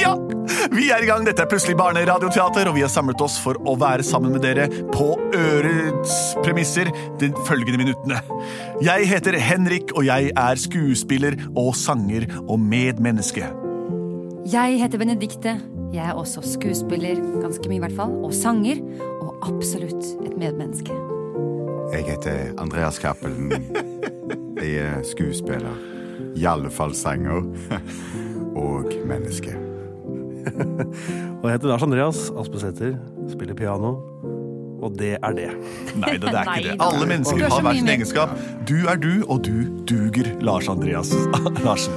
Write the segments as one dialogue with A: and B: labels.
A: Ja! Vi er i gang. Dette er Plutselig barneradioteater, og vi har samlet oss for å være sammen med dere på ørets premisser de følgende minuttene. Jeg heter Henrik, og jeg er skuespiller og sanger og medmenneske.
B: Jeg heter Benedikte. Jeg er også skuespiller, ganske mye i hvert fall, og sanger. Og absolutt et medmenneske.
C: Jeg heter Andreas Cappelen. Jeg er skuespiller. I alle fall sanger. Og menneske.
D: Og jeg heter Lars Andreas Aspesæter, spiller piano, og det er det.
A: Nei, det, det er
B: Nei,
A: ikke det.
B: det-
A: Alle
B: Du
A: mennesker
B: er så
A: har hver
B: mye
A: sin
B: mer.
A: egenskap. Du er du, og du duger, Lars Andreas Larsen.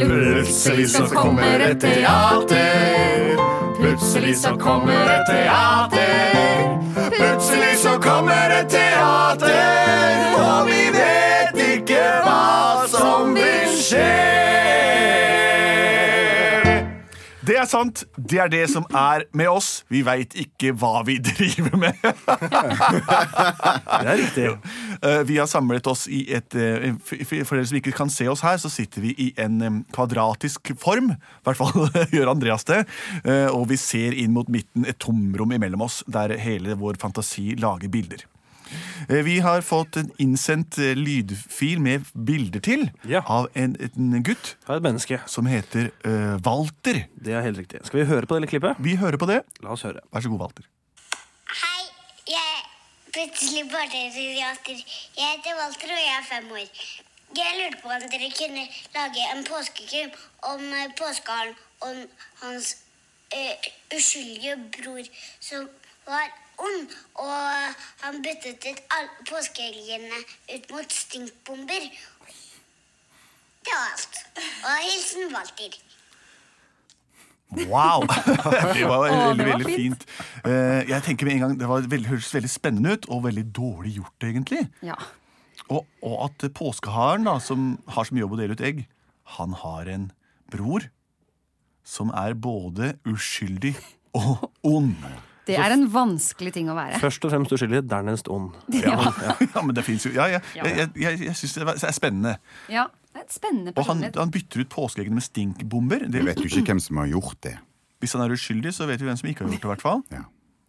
B: Plutselig så kommer et teater. Plutselig så kommer et teater.
C: Plutselig så kommer et teater, og vi vet ikke hva som vil skje.
A: Det er sant. Det er det som er med oss. Vi veit ikke hva vi driver med.
D: Det er riktig.
A: Eh, Vi har samlet oss i et eh, For for dere som ikke kan se oss her, så sitter vi i en eh, kvadratisk form. I hvert fall gjør Andreas det. Eh, Og vi ser inn mot midten, et tomrom imellom oss, der hele vår fantasi lager bilder. Eh, Vi har fått en innsendt eh, lydfil med bilder til
D: Ja.
A: av en, en gutt
D: Jeg er et menneske.
A: som heter eh, Walter.
D: Det er helt riktig. Skal vi høre på det lille klippet?
A: Vi hører på det.
D: La oss høre.
A: Vær så god, Walter.
E: Hei, jeg er plutselig barneradiater. Jeg heter Walter, og jeg er fem år. Jeg lurte på om dere kunne lage en påskekrim om eh, påskeharen og hans eh, uskyldige bror som var ond, og han byttet ut all- påskehelgene ut mot stinkbomber. Det var alt. Og hilsen Walter.
A: Wow! Det var
B: Å,
A: veldig,
B: det var
A: veldig fint.
B: fint.
A: Eh, Jeg tenker med en gang, Det var veldig, hørtes veldig spennende ut, og veldig dårlig gjort, egentlig.
B: Ja.
A: Og, og at påskeharen, da, som har som jobb å dele ut egg, han har en bror som er både uskyldig og ond.
B: Det er en vanskelig ting å være.
D: Først og fremst uskyldig, dernest ond.
A: Ja, ja men det fins jo Ja, ja.
B: Ja.
A: Jeg, jeg, jeg syns det var- det er spennende.
B: Ja, det er et spennende
A: Og han,
B: personlighet.
A: han bytter ut påskeeggene med stinkbomber.
C: Jeg
A: Det,
C: vet jo ikke hvem som har gjort det.
A: hvis han er uskyldig, så vet vi hvem som ikke har gjort det. i hvert fall.
C: Ja.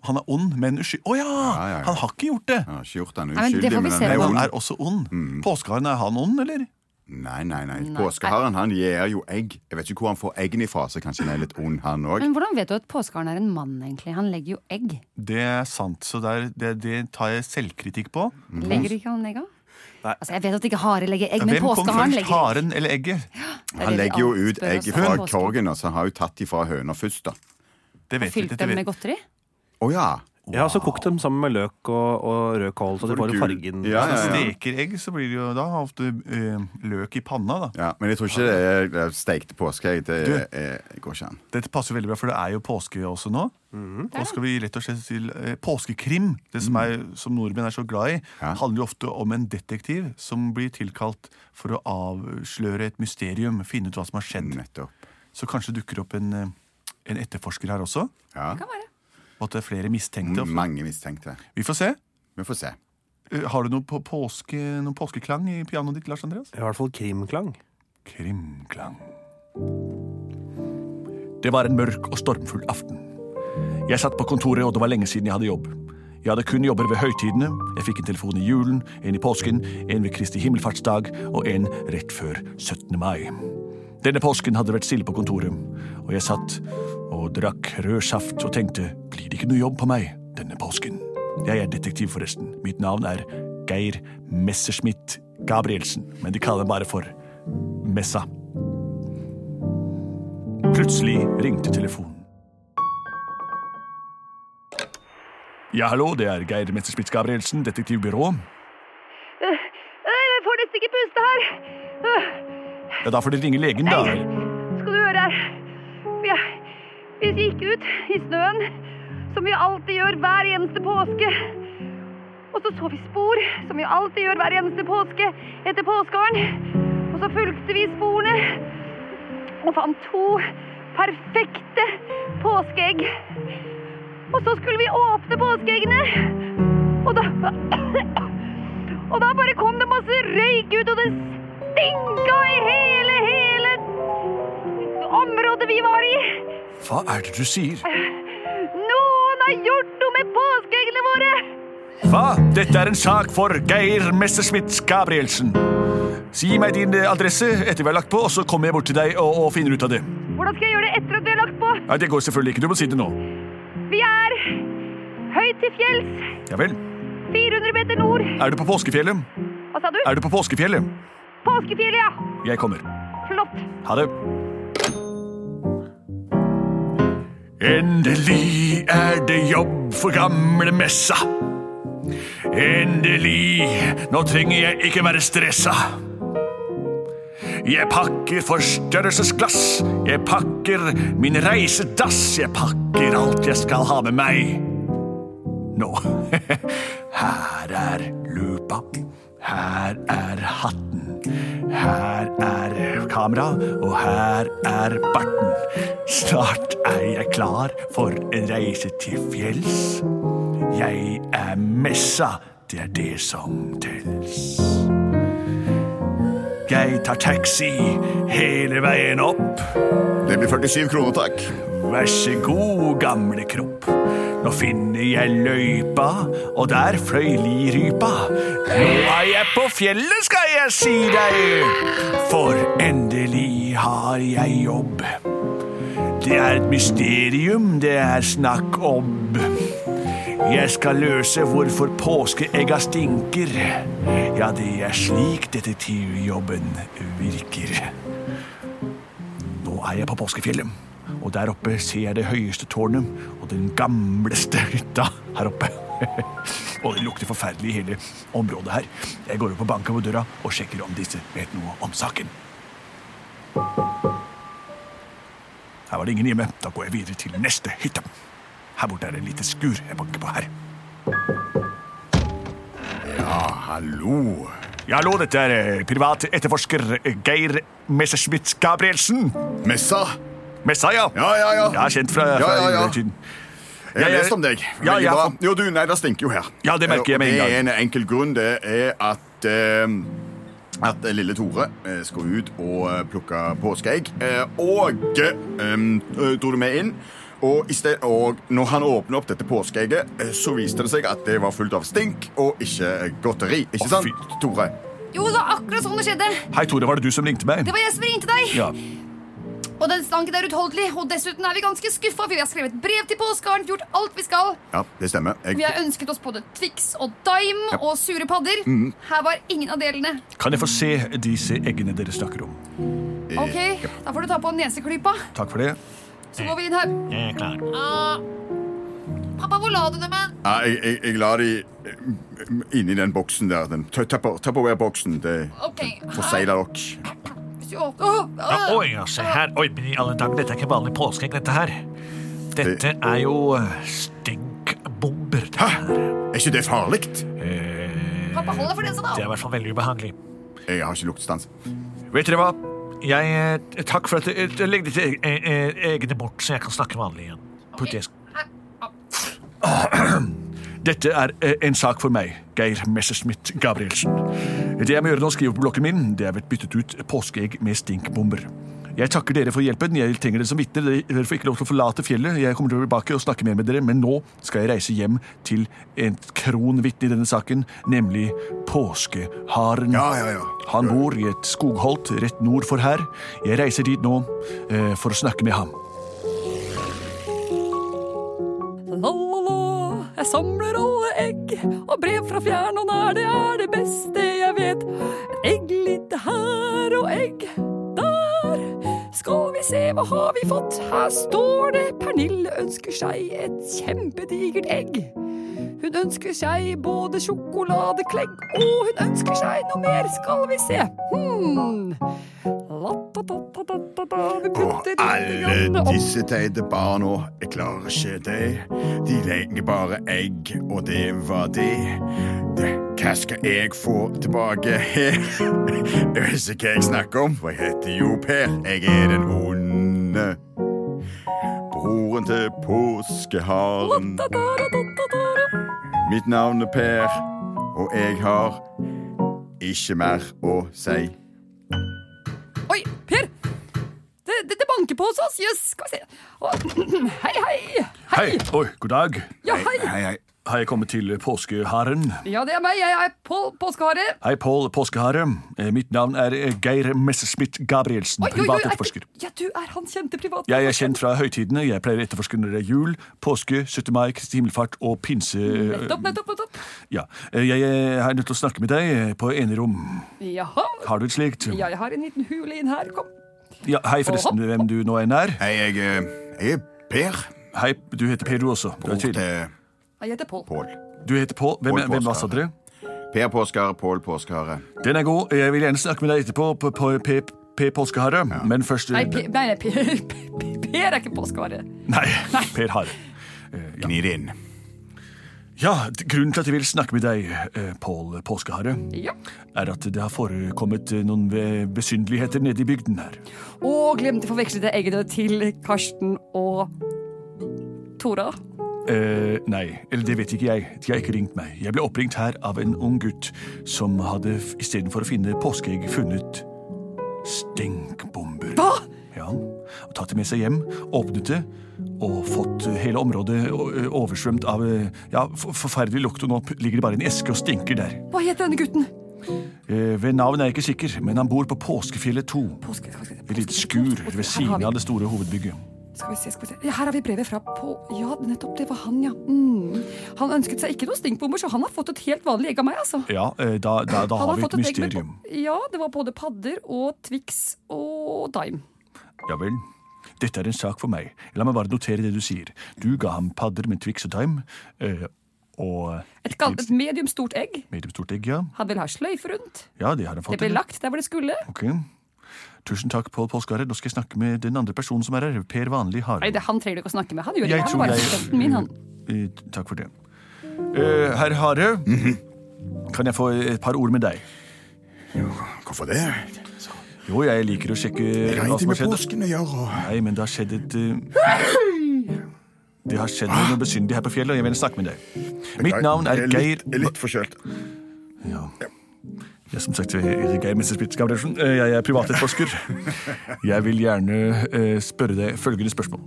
A: Han er ond, men uskyldig. Å
C: Ja, ja,
A: ja!
C: ja.
A: Han har ikke gjort det!
C: Han har ikke gjort den
B: men det
C: uskyldig,
B: får vi
C: men
B: se
C: han
A: Men han
B: da.
C: er ond. Mm.
A: er også ond. Påskeharen, er han ond, eller?
C: Nei, nei, nei. Påskeharen han gir jo egg. Jeg vet ikke hvor han får eggene ifra, så kanskje han er litt ond, han òg.
B: Men hvordan vet du at påskeharen er en mann, egentlig? Han legger jo egg.
A: Det er sant, så der, det, det tar jeg selvkritikk på.
C: Mm.
B: Legger ikke han egg? da?
D: Nei.
B: Altså, jeg vet at ikke hare legger egg, men
A: Mm. Hvem kom
B: påskeharen
A: først,
B: legger egg.
A: haren eller egget?
B: Det er
C: Han
B: det vi
C: legger jo
B: alltid
C: ut
B: spør
C: egg
B: oss om
C: fra
B: påsken.
C: korgen, og så har hun tatt ifra høna først, da.
A: Det vet vi
B: Fylt
A: ikke. det
B: dem med
A: vet-
B: godteri?
C: Å ja.
D: Jeg har også kokt dem sammen med løk og, og rød kål, så de får
C: Gul.
D: fargen.
C: Ja, ja, ja.
A: Steker egg, så blir det jo da ofte eh, løk i panna, da.
C: Ja, men jeg tror ikke det er- det er steikte påskeegg. Det er- går ikke an.
A: Dette passer jo veldig bra, for det er jo påske også nå.
B: Mhm.
A: Og skal vi rett og slett til eh, påskekrim, det som, er, som nordmenn er så glad i,
C: Mm. Ja.
A: handler jo ofte om en detektiv som blir tilkalt for å avsløre et mysterium, finne ut hva som har skjedd.
C: Nettopp.
A: Så kanskje dukker opp en, eh, en etterforsker her også,
C: Ja.
B: Kan være.
A: og at det er flere mistenkte.
C: M- Mange mistenkte.
A: Vi får se.
C: Vi får se.
A: Eh, Har du noe på påske, noen påskeklang i pianoet ditt, Lars Andreas?
D: I hvert fall krimklang.
A: Krimklang. Det var en mørk og stormfull aften. Jeg satt på kontoret, og det var lenge siden jeg hadde jobb. Jeg hadde kun jobber ved høytidene. Jeg fikk en telefon i julen, en i påsken, en ved Kristi himmelfartsdag og en rett før 17. mai. Denne påsken hadde det vært stille på kontoret, og jeg satt og drakk rød saft og tenkte blir det ikke noe jobb på meg denne påsken? Jeg er detektiv, forresten. Mitt navn er Geir Messerschmitt Gabrielsen, men de kaller meg bare for Messa. Plutselig ringte telefonen. Ja, hallo, det er Geir Messerschmitt Gabrielsen, detektivbyrå.
F: Øh, Jeg får nesten ikke puste her. Øh,
A: Ja, Da får dere ringe legen, da.
F: skal du høre her. Vi, vi gikk ut i snøen, som vi alltid gjør hver eneste påske. Og så så vi spor, som vi alltid gjør hver eneste påske, etter påskearen. Og så fulgte vi sporene og fant to perfekte påskeegg. Og så skulle vi åpne påskeeggene, og da Og da bare kom det masse røyk ut, og det stinka i hele, hele området vi var i.
A: Hva er det du sier?
F: Noen har gjort noe med påskeeggene våre!
A: Hva? Dette er en sak for Geir Messerschmidt Gabrielsen. Si meg din eh, adresse etter vi har lagt på, og så kommer jeg bort til deg og, og finner ut av det.
F: Hvordan skal jeg gjøre det etter at vi har lagt på?
A: Nei, Det går selvfølgelig ikke. Du må si det nå.
F: Vi er høyt til fjells,
A: Ja vel.
F: 400 meter nord.
A: Er du på påskefjellet?
F: Hva sa du?
A: Er du på påskefjellet?
F: Påskefjellet, ja.
A: Jeg kommer.
F: Flott.
A: Ha det. Endelig er det jobb for gamle messa. Endelig, nå trenger jeg ikke være stressa. Jeg pakker forstørrelsesglass, jeg pakker min reisedass, jeg pakker alt jeg skal ha med meg. Nå, her er lupa, her er hatten, her er kamera, og her er barten. Snart er jeg klar for en reise til fjells. Jeg er messa, det er det som tels. Jeg tar taxi hele veien opp.
C: Det blir 47 kroner, takk.
A: Vær så god, gamle kropp. Nå finner jeg løypa, og der fløy lirypa. Nå er jeg på fjellet, skal jeg si deg. For endelig har jeg jobb. Det er et mysterium det er snakk om. Jeg skal løse hvorfor påskeegga stinker. Ja, det er slik detektivjobben virker. Nå er jeg på påskefjellet, og der oppe ser jeg det høyeste tårnet og den gamleste hytta her oppe. og det lukter forferdelig i hele området her. Jeg går opp og banker på døra og sjekker om disse vet noe om saken. Her var det ingen hjemme. Da går jeg videre til neste hytte. Her borte er det et lite skur jeg banker på her.
C: Hallo.
A: Ja, hallo, dette er eh, privat etterforsker eh, Geir Messerschmidt Gabrielsen.
C: Messa?
A: Messa, ja.
C: Ja, ja, ja.
A: Jeg er kjent fra, fra
C: Ja, ja, ja.
A: tiden.
C: Jeg har
A: Jeg-
C: lest om deg.
A: Ja,
C: Veldig
A: jeg-
C: bra. Jo, du, nei, det stinker jo her.
A: Ja, det merker jeg med en
C: Det
A: gang.
C: er en enkel grunn. Det er at eh, at lille Tore eh, skulle ut og eh, plukke påskeegg. Eh, og eh, dro det med inn. Og, i sted, og når han åpner opp dette påskeegget, eh, så viste det seg at det var fullt av stink og ikke eh, godteri. Ikke
A: Å,
C: sant,
A: fy.
C: Tore?
F: Jo, det var akkurat sånn det skjedde.
A: Hei, Tore, var det du som ringte meg?
F: Det var jeg som ringte deg.
A: Ja.
F: Og den stanken er utholdelig. Og dessuten er vi ganske skuffa, for vi har skrevet brev til påskearen, gjort alt vi skal.
C: Ja, det stemmer. Jeg,
F: Vi har ønsket oss både Twix og Dime og sure padder.
G: Mm.
F: Her var ingen av delene.
A: Kan jeg få se disse eggene dere snakker om?
G: Eh,
F: Ok, Da får du ta på neseklypa,
A: Takk for det.
F: så går vi inn her.
A: Jeg er klar.
F: Ah. Pappa, hvor la du dem hen?
C: Ja, jeg, jeg, jeg la de inni den boksen der. Den tø- tupper- Tupperware-boksen. Det
F: Ok,
C: forsegler dere.
F: Hvis du åpner Åh,
H: Ja,
F: åh.
H: oi, ja, se her. Oi, men i alle dager, dette er ikke vanlig påskeegg, dette her. Dette er jo eh, stinkbomber. dette her.
C: Er ikke det farlig?
H: Eh,
F: Pappa, hold deg for den som
H: Det er i
F: da.
H: hvert fall veldig ubehagelig.
C: Jeg har ikke luktestans.
H: Vet dere hva? Jeg, eh, takk for at dere eh, Legg disse eh, eh, eggene bort, så jeg kan snakke vanlig igjen. På disk.
A: Dette er eh, en sak for meg, Geir Messerschmidt Gabrielsen. Det jeg må gjøre nå, skrive på blokken min, det er blitt byttet ut påskeegg med stinkbomber. Jeg takker dere for hjelpen. Jeg trenger dere som vitner. Dere- Dere får ikke lov til å forlate fjellet. Jeg kommer tilbake og snakke mer med dere, men nå skal jeg reise hjem til et kronvitne i denne saken, nemlig påskeharen.
C: Ja, ja, ja.
A: Han bor i et skogholt rett nord for her. Jeg reiser dit nå eh, for å snakke med ham.
G: La-la-la, jeg samler alle egg, og brev fra fjern og nær, det er det beste jeg vet. Et egg litt her og egg der. Skal vi se, hva har vi fått? Her står det Pernille ønsker seg et kjempedigert egg. Hun ønsker seg både sjokoladeklegg, og hun ønsker seg noe mer, skal vi se. Hmm. Vi
C: Og
G: putter litt
C: alle
G: grann opp.
C: disse teite barna, jeg klarer ikke det. De legger bare egg, og det var det. Det- Hva skal jeg få tilbake her? Jeg vet ikke hva jeg snakker om, for jeg heter jo Per. Jeg er den onde. Broren til påskeharen. Mitt navn er Per, og jeg har ikke mer å si.
G: Oi, Per! Det, det, det banker på hos oss. Jøss, skal vi se. Å, hei, hei. Hei.
A: Hei! Oi, god dag.
G: Ja, hei.
C: Hei, hei.
A: Har jeg kommet til påskeharen?
G: Ja, det er meg. Jeg er Pål Påskehare.
A: Hei, Pål Påskehare. Eh, Mitt navn er eh, Geir Messerschmidt Gabrielsen,
G: Oi, oi, oi,
A: privat
G: er
A: etterforsker.
G: det- Ja, du er han kjente privat.
A: Jeg er kjent fra høytidene. Jeg pleier å etterforske når det er jul, påske, 17. mai, Kristi himmelfart og pinse...
G: Nettopp, nettopp, nettopp.
A: Ja. Eh, Jeg eh, er nødt til å snakke med deg eh, på enerom.
G: Jaha.
A: Har du et slikt?
G: Ja, jeg har en liten hule inn her. Kom.
A: Ja, hei, forresten,
G: Oho.
A: hvem du nå enn er.
C: Hei, jeg, eh, jeg er Per.
A: Hei, du heter Per, du også. Du,
C: Bror
A: er
C: til
A: til.
G: Jeg heter Pål.
C: Pål.
A: du heter Pål. Hvem,
C: Pål
A: hvem hva sa
C: Påskehare.
A: dere?
C: Per Påskehare, Pål Påskehare.
A: Den er god. Jeg vil gjerne snakke med deg etterpå på, på P... P. Påskehare, men først eh,
G: Nei, Per, nei, nei, per, Per- per er ikke påskehare.
A: Nei, Per Hare.
C: Gni det inn.
A: Ja, d- grunnen til at jeg vil snakke med deg, eh, Pål Påskehare,
G: Ja.
A: er at det har forekommet eh, noen ve- besynderligheter nede i bygden her.
G: Og glemte å forveksle det egget til Karsten og Tora.
A: Eh, nei, eller det vet ikke jeg. De har ikke ringt meg. Jeg ble oppringt her av en ung gutt som hadde f- istedenfor å finne påskeegg funnet stinkbomber.
G: Hva?
A: Ja, og Tatt det med seg hjem, åpnet det og fått eh, hele området o- eh, oversvømt av eh, ja, f- forferdelig lukt, og nå p- ligger det bare en eske og stinker der.
G: Hva heter denne gutten?
A: Eh, ved navn er jeg ikke sikker, men han bor på Påskefjellet 2.
G: Påske, påske, påske,
A: Et lite
G: påske-
A: skur
G: påske-
A: ved
G: her har
A: siden
G: vi-
A: av det store hovedbygget.
G: Skal vi se, skal vi se. Ja, Her har vi brevet fra på... Ja, nettopp, det var han, ja. Mm. Han ønsket seg ikke noen stinkbomber, så han har fått et helt vanlig egg av meg, altså.
A: Ja, eh, da, da, da
G: Han
A: har vi et
G: fått egg med
A: mysterium.
G: bo- Ja, det var både padder og Twix og Dime.
A: Ja vel. Dette er en sak for meg. La meg bare notere det du sier. Du ga ham padder med Twix og Time. eh, Og
G: Et, gal- et medium stort egg.
A: mediumstort egg, ja.
G: Han vil ha sløyfe rundt.
A: Ja, det har han
G: Det
A: fått.
G: ble
A: eller?
G: lagt der hvor det skulle.
A: Ok. Tusen takk, Pål Påskeharet. Nå skal jeg snakke med den andre personen som er her. Per Vanlig Hare.
G: Nei, det, han trenger du ikke å snakke med. Han
A: Jeg
G: gjør ikke det. Han
A: tror
G: er bare
A: jeg-
G: assistenten min, han.
A: Eh, Takk for det. Eh, Herr Hare,
C: Mhm.
A: kan jeg få et par ord med deg?
C: Hvorfor det?
A: Jo, jeg liker å sjekke
C: Jeg har
A: hva som
C: ingenting
A: har
C: med
A: skjedd.
C: påsken å gjøre.
A: Nei, men det har skjedd et eh, Det har skjedd noe besynderlig her på fjellet, og jeg vil snakke med deg. Mitt navn er
C: Jeg
A: Geir
C: litt- Jeg er litt forkjølt.
A: Ja. Ja, som sagt, jeg er Geir Messerspitz Gabrielsen. Eh, Jeg er privatetterforsker. Jeg vil gjerne eh, spørre deg følgende spørsmål.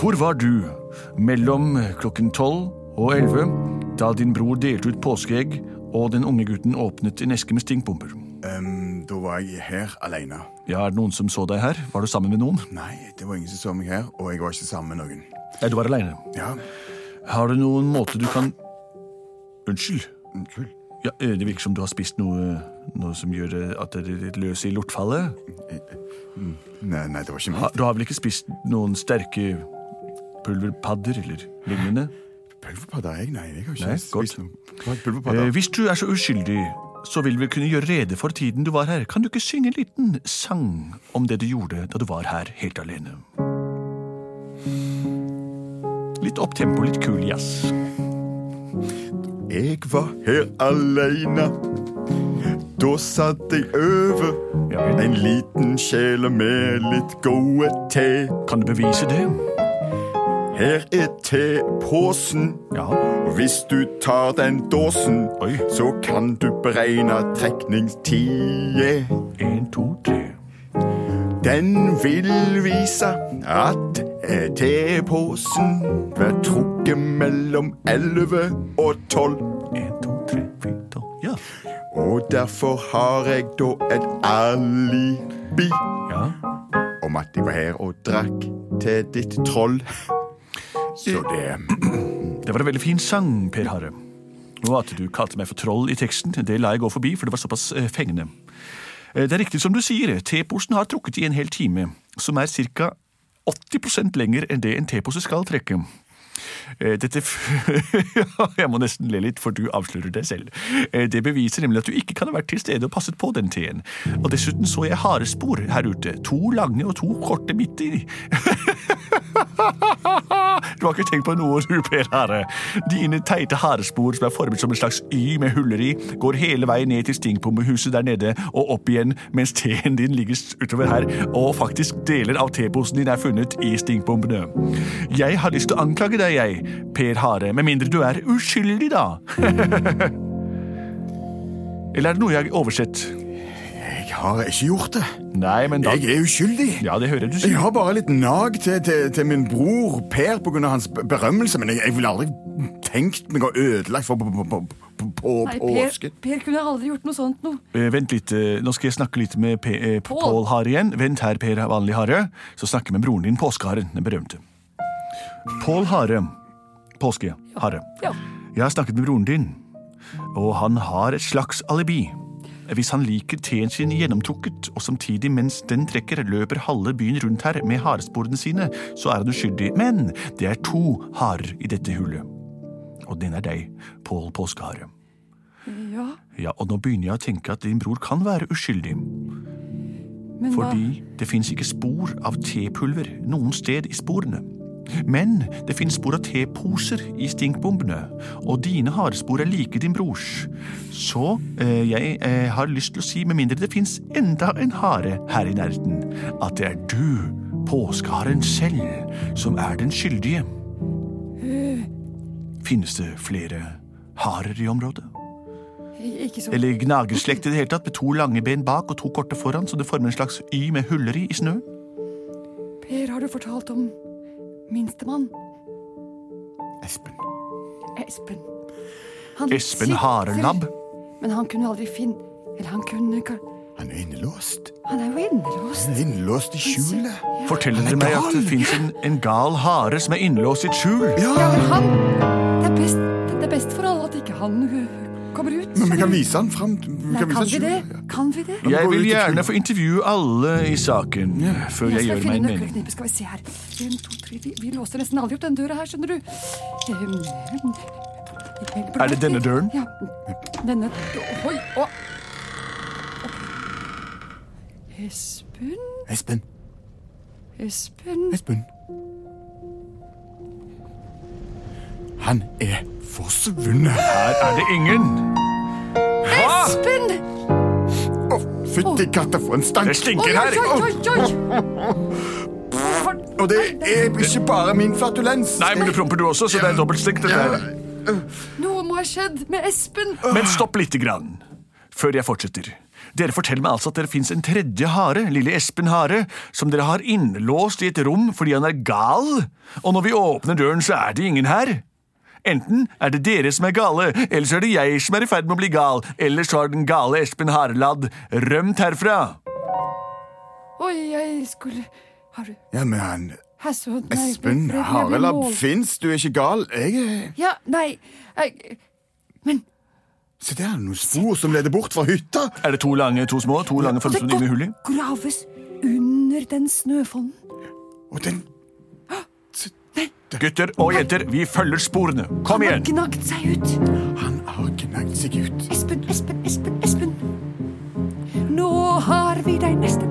A: Hvor var du mellom klokken tolv og elleve da din bror delte ut påskeegg og den unge gutten åpnet en eske med stinkbomber?
C: Ehm, da var jeg her alene.
A: Ja, Er det noen som så deg her? Var du sammen med noen?
C: Nei, det var ingen som så meg her, og jeg var ikke sammen med noen.
A: Nei, du var aleine.
C: Ja,
A: Har du noen måte du kan Unnskyld?
C: unnskyld.
A: Ja, eh, det virker som du har spist noe, noe som gjør eh, at dere er litt løse i lortfallet?
C: mm. Nei, nei, det var ikke
A: Ha-
C: meg.
A: Du har vel ikke spist noen sterke pulverpadder eller lignende?
C: Pulverpadder, jeg? Nei, jeg har ikke
A: Nei,
C: spist
A: godt.
C: noe. Nei,
A: Eh,
C: Pulverpadder.
A: hvis du er så uskyldig, så vil vi kunne gjøre rede for tiden du var her. Kan du ikke synge en liten sang om det du gjorde da du var her helt alene? Litt opptempo, litt kul jazz.
C: Jeg var her alene. Da satt jeg over
A: Ja vel.
C: en liten kjele med litt gode te.
A: Kan du bevise det?
C: Her er tepåsen.
A: Ja.
C: Og Hvis du tar den dåsen,
A: Oi.
C: så kan du beregne trekningstid.
A: En, to, tre.
C: Den vil vise at teposen ble trukket mellom 11 og 12.
A: En, to, tre, fire, tolv. Ja.
C: Og derfor har jeg da et alibi
A: ja.
C: om at jeg var her og drakk til ditt troll. Så det
A: Det var en veldig fin sang, Per Harre. Og at du kalte meg for troll i teksten, det la jeg gå forbi, for det var såpass eh, fengende. Eh, Det er riktig som du sier, teposen har trukket i en hel time, som er ca. 80 lenger enn det en tepose skal trekke. Eh, Dette f- Ja, Jeg må nesten le litt, for du avslører deg selv. Eh, Det beviser nemlig at du ikke kan ha vært til stede og passet på den teen. Og dessuten så jeg harespor her ute. To lange og to korte midt i. Du har ikke tenkt på noe, du, Per Hare. Dine teite harespor som er formet som en slags Y med huller i, går hele veien ned til stinkbombehuset der nede og opp igjen, mens teen din ligger s- utover her, og faktisk deler av teposen din er funnet i stinkbombene. Jeg har lyst til å anklage deg, jeg, Per Hare, med mindre du er uskyldig, da. Eller er det noe jeg har oversett?
C: Jeg har ikke gjort det.
A: Nei, men da
C: Jeg er uskyldig.
A: Ja, det hører jeg du
C: Jeg
A: sier.
C: har bare litt nag til, til, til min bror Per pga. hans be- berømmelse, men jeg, jeg ville aldri tenkt meg å ødelegge for på, på, på, på, på
B: Nei,
C: påske.
B: per, per kunne aldri gjort noe sånt noe.
A: Eh, vent litt, eh, nå skal jeg snakke litt med P eh, P- Pål Hare igjen. Vent her, Per Vanlig Hare. Så snakke med broren din, Påskeharen, den berømte. Pål Hare. Påskehare.
G: Ja.
A: Jeg har snakket med broren din, og han har et slags alibi. Hvis han liker teen sin gjennomtrukket, og samtidig mens den trekker, løper halve byen rundt her med haresporene sine, så er han uskyldig. Men det er to harer i dette hullet. Og den er deg, Pål Påskehare.
G: ja.
A: Ja, og nå begynner jeg å tenke at din bror kan være uskyldig.
G: Men hva
A: Fordi det fins ikke spor av tepulver noen sted i sporene. Men det fins spor av teposer i stinkbombene, og dine harespor er like din brors. Så eh, jeg eh, har lyst til å si, med mindre det fins enda en hare her i nærheten, at det er du, påskeharen selv, som er den skyldige. Finnes det flere harer i området?
G: Ikke så
A: Eller gnagerslekt i det hele tatt, med to lange ben bak og to korte foran, så det former en slags Y med huller i i snøen?
G: Per, har du fortalt om minstemann
C: Espen.
G: Espen? Han
A: Espen
G: sitter-
A: Harelabb?
G: Men han kunne aldri finne Eller han kunne ikke
C: Han er innelåst.
G: Han er jo innelåst.
C: Han er innelåst i skjulet.
A: Forteller
C: Han er
A: dere meg at
C: gal.
A: det fins en, en gal hare som er innelåst i et skjul?
G: Ja,
C: Ja,
G: men han Det er best, det er best for alle at ikke han øh, kommer ut.
C: men vi kan vise han fram. Vi kan
G: Nei, kan,
C: vise han
G: vi det?
C: skjulet.
G: Kan vi det?
A: Jeg
C: går ut
A: vil
C: i
A: gjerne
C: skjul.
A: få intervjue alle i saken før jeg
G: skal
A: gjør
G: finne
A: meg en mening.
G: nøkkelknippet. Skal vi se her. En, to, tre, vi, vi låser nesten aldri opp den døra her, skjønner du. Um,
A: Er det denne døren?
G: Ja. Denne Oi! Å. Espen
C: Espen.
G: Espen
C: Espen. Han er forsvunnet.
A: Her er det ingen.
C: Ah!
G: Espen!
C: Å, fytti katta, for en stank!
A: Det stinker her.
G: Oi, oi, oi!
C: Og det er ikke bare min flatulens.
A: Nei, men du promper du også, så det er dobbeltstengt. dette her.
G: Noe må ha skjedd med Espen.
A: Men stopp lite grann, før jeg fortsetter. Dere forteller meg altså at dere fins en tredje hare, lille Espen Hare, som dere har innelåst i et rom fordi han er gal, og når vi åpner døren, så er det ingen her. Enten er det dere som er gale, eller så er det jeg som er i ferd med å bli gal, eller så har den gale Espen Hareladd rømt herfra.
G: Oi, jeg skulle Har du
C: Ja, men han...
G: Hasso, nei,
C: Espen
G: jeg ble- jeg ble
C: Harelab
G: mål.
C: fins, du er ikke gal. Jeg er...
G: Ja, nei jeg,
C: Se, der er det noen spor som leder bort fra hytta.
A: Er det to lange, to små, to lange
G: Det
A: følelser
G: kan
A: inne i hullet?
G: graves under den snøfolden.
C: Og den
A: Gutter og jenter, vi følger sporene. Kom
G: Han har
A: igjen!
G: gnagt seg ut.
C: Han har gnagd seg ut.
G: Espen, Espen, Espen, Espen. Nå har vi deg nesten.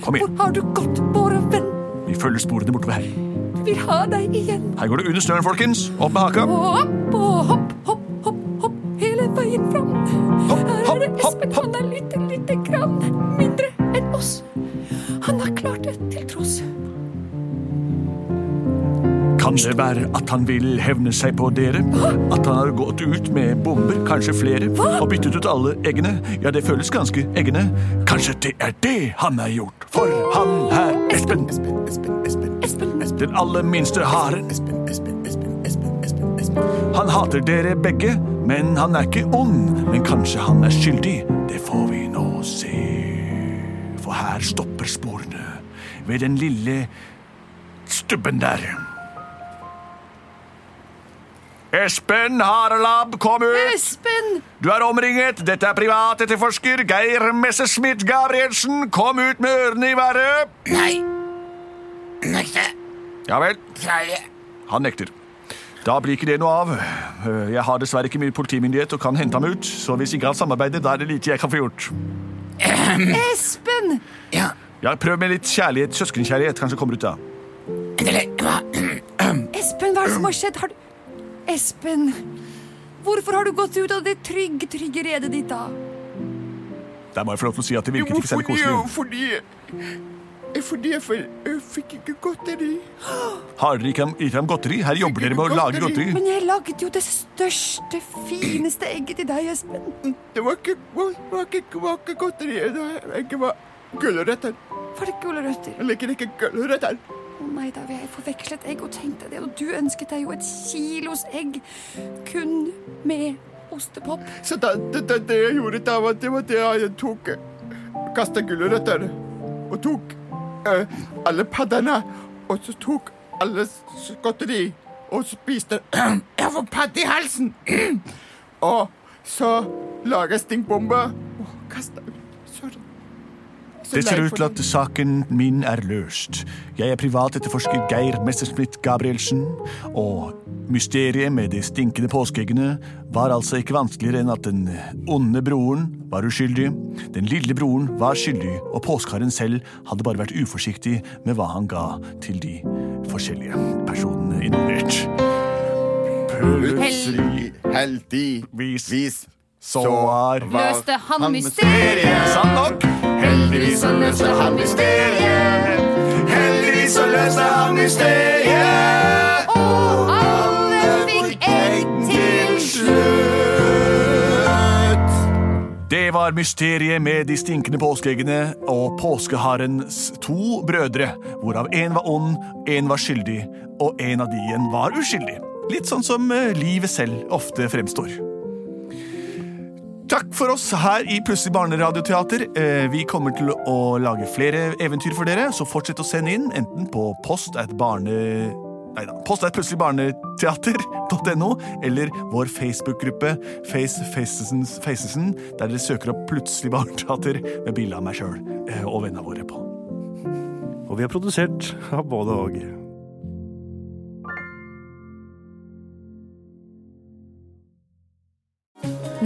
A: Kom
G: Hvor
A: igjen.
G: har du gått, våre venn?
A: Vi følger sporene bortover her.
G: Vi har deg igjen.
A: Her går det under snøen, folkens. Opp med haka.
G: Og opp og hopp, hopp, hopp, hopp hele veien fram.
A: Hopp,
G: Her
A: hopp,
G: er det Espen.
A: hopp, hopp.
G: Han er lite, lite grann mindre enn oss. Han har klart det til tross.
A: Kan det være at han vil hevne seg på dere? At han har gått ut med bomber, kanskje flere, og byttet ut alle eggene? Ja, det føles ganske eggene. Kanskje det er det han har gjort? For han er Espen,
C: Espen, Espen, Espen,
G: Espen.
A: den aller minste haren.
C: Espen, Espen, Espen, Espen, Espen, Espen.
A: Han hater dere begge, men han er ikke ond. Men kanskje han er skyldig? Det får vi nå se. For her stopper sporene. Ved den lille stubben der. Espen Harelab, kom ut!
G: Espen!
A: Du er omringet. Dette er privatetterforsker Geir Messerschmidt Gabrielsen. Kom ut med ørene i været.
I: Nei. Nekte.
A: Ja vel.
I: Klarer
A: Han nekter. Da blir ikke det noe av. Eh, Jeg har dessverre ikke mye politimyndighet og kan hente ham ut, så hvis ikke han samarbeider, da er det lite jeg kan få gjort.
B: Espen!
I: Ja,
A: Ja, prøv med litt kjærlighet, søskenkjærlighet, kanskje kommer ut da.
I: eller hva?
B: Espen, hva er det som har skjedd? Har du Espen! Hvorfor har du gått ut av det trygge, trygge redet ditt, da?
A: Der må jeg få lov til å si at det virket
C: Jo,
A: ikke særlig
C: fordi,
A: koselig.
C: fordi Fordi jeg f- jeg fikk ikke godteri.
A: Har dere ikke ham- gitt ham godteri? Her jobber dere med å lage godteri.
B: Men jeg lagde jo det største, fineste egget til deg, Espen.
C: Det var ikke, var ikke, var ikke godteri. Det var gulrøtter.
B: Var det gulrøtter?
C: Jeg liker ikke gulrøtter.
B: Å nei, da vil jeg forveksle et egg og tenkte det. Og du ønsket deg jo et kilos egg kun med ostepop.
C: Så da, det, det, det jeg gjorde da, var, det var det at jeg tok Kasta gulrøtter og tok eh, alle paddene. Og så tok alle s- godteri og spiste Jeg får padde i halsen! og så laga stinkbombe og kasta ut. Sorry. Så
A: Det ser
C: lei
A: ut til
C: for
A: at saken min er løst. Jeg er privatetterforsker Geir Messerschmidt Gabrielsen, og mysteriet med de stinkende påskeeggene var altså ikke vanskeligere enn at den onde broren var uskyldig, den lille broren var skyldig, og påskeharen selv hadde bare vært uforsiktig med hva han ga til de forskjellige personene involvert.
C: Plutselig, heldigvis,
A: Vis.
C: så
A: var-
B: Løste han mysteriet.
A: Sant nok?
C: Heldigvis så løste han mysteriet. Heldigvis så løste han mysteriet.
B: Og alle fikk egg til
C: slutt.
A: Det var mysteriet med de stinkende påskeeggene og påskeharens to brødre, hvorav én var ond, én var skyldig, og en av de igjen var uskyldig. Litt sånn som eh, livet selv ofte fremstår. Takk for oss her i Plutselig barneradioteater. Eh, Vi kommer til å lage flere eventyr for dere, så fortsett å sende inn, enten på post at barne... Nei da. Post at plutselig barneteater.no, eller vår Facebook-gruppe Face Facesen- Facesen, der dere søker opp Plutselig barneteater med bilde av meg sjøl og vennene våre på.
D: Og vi er produsert av både og.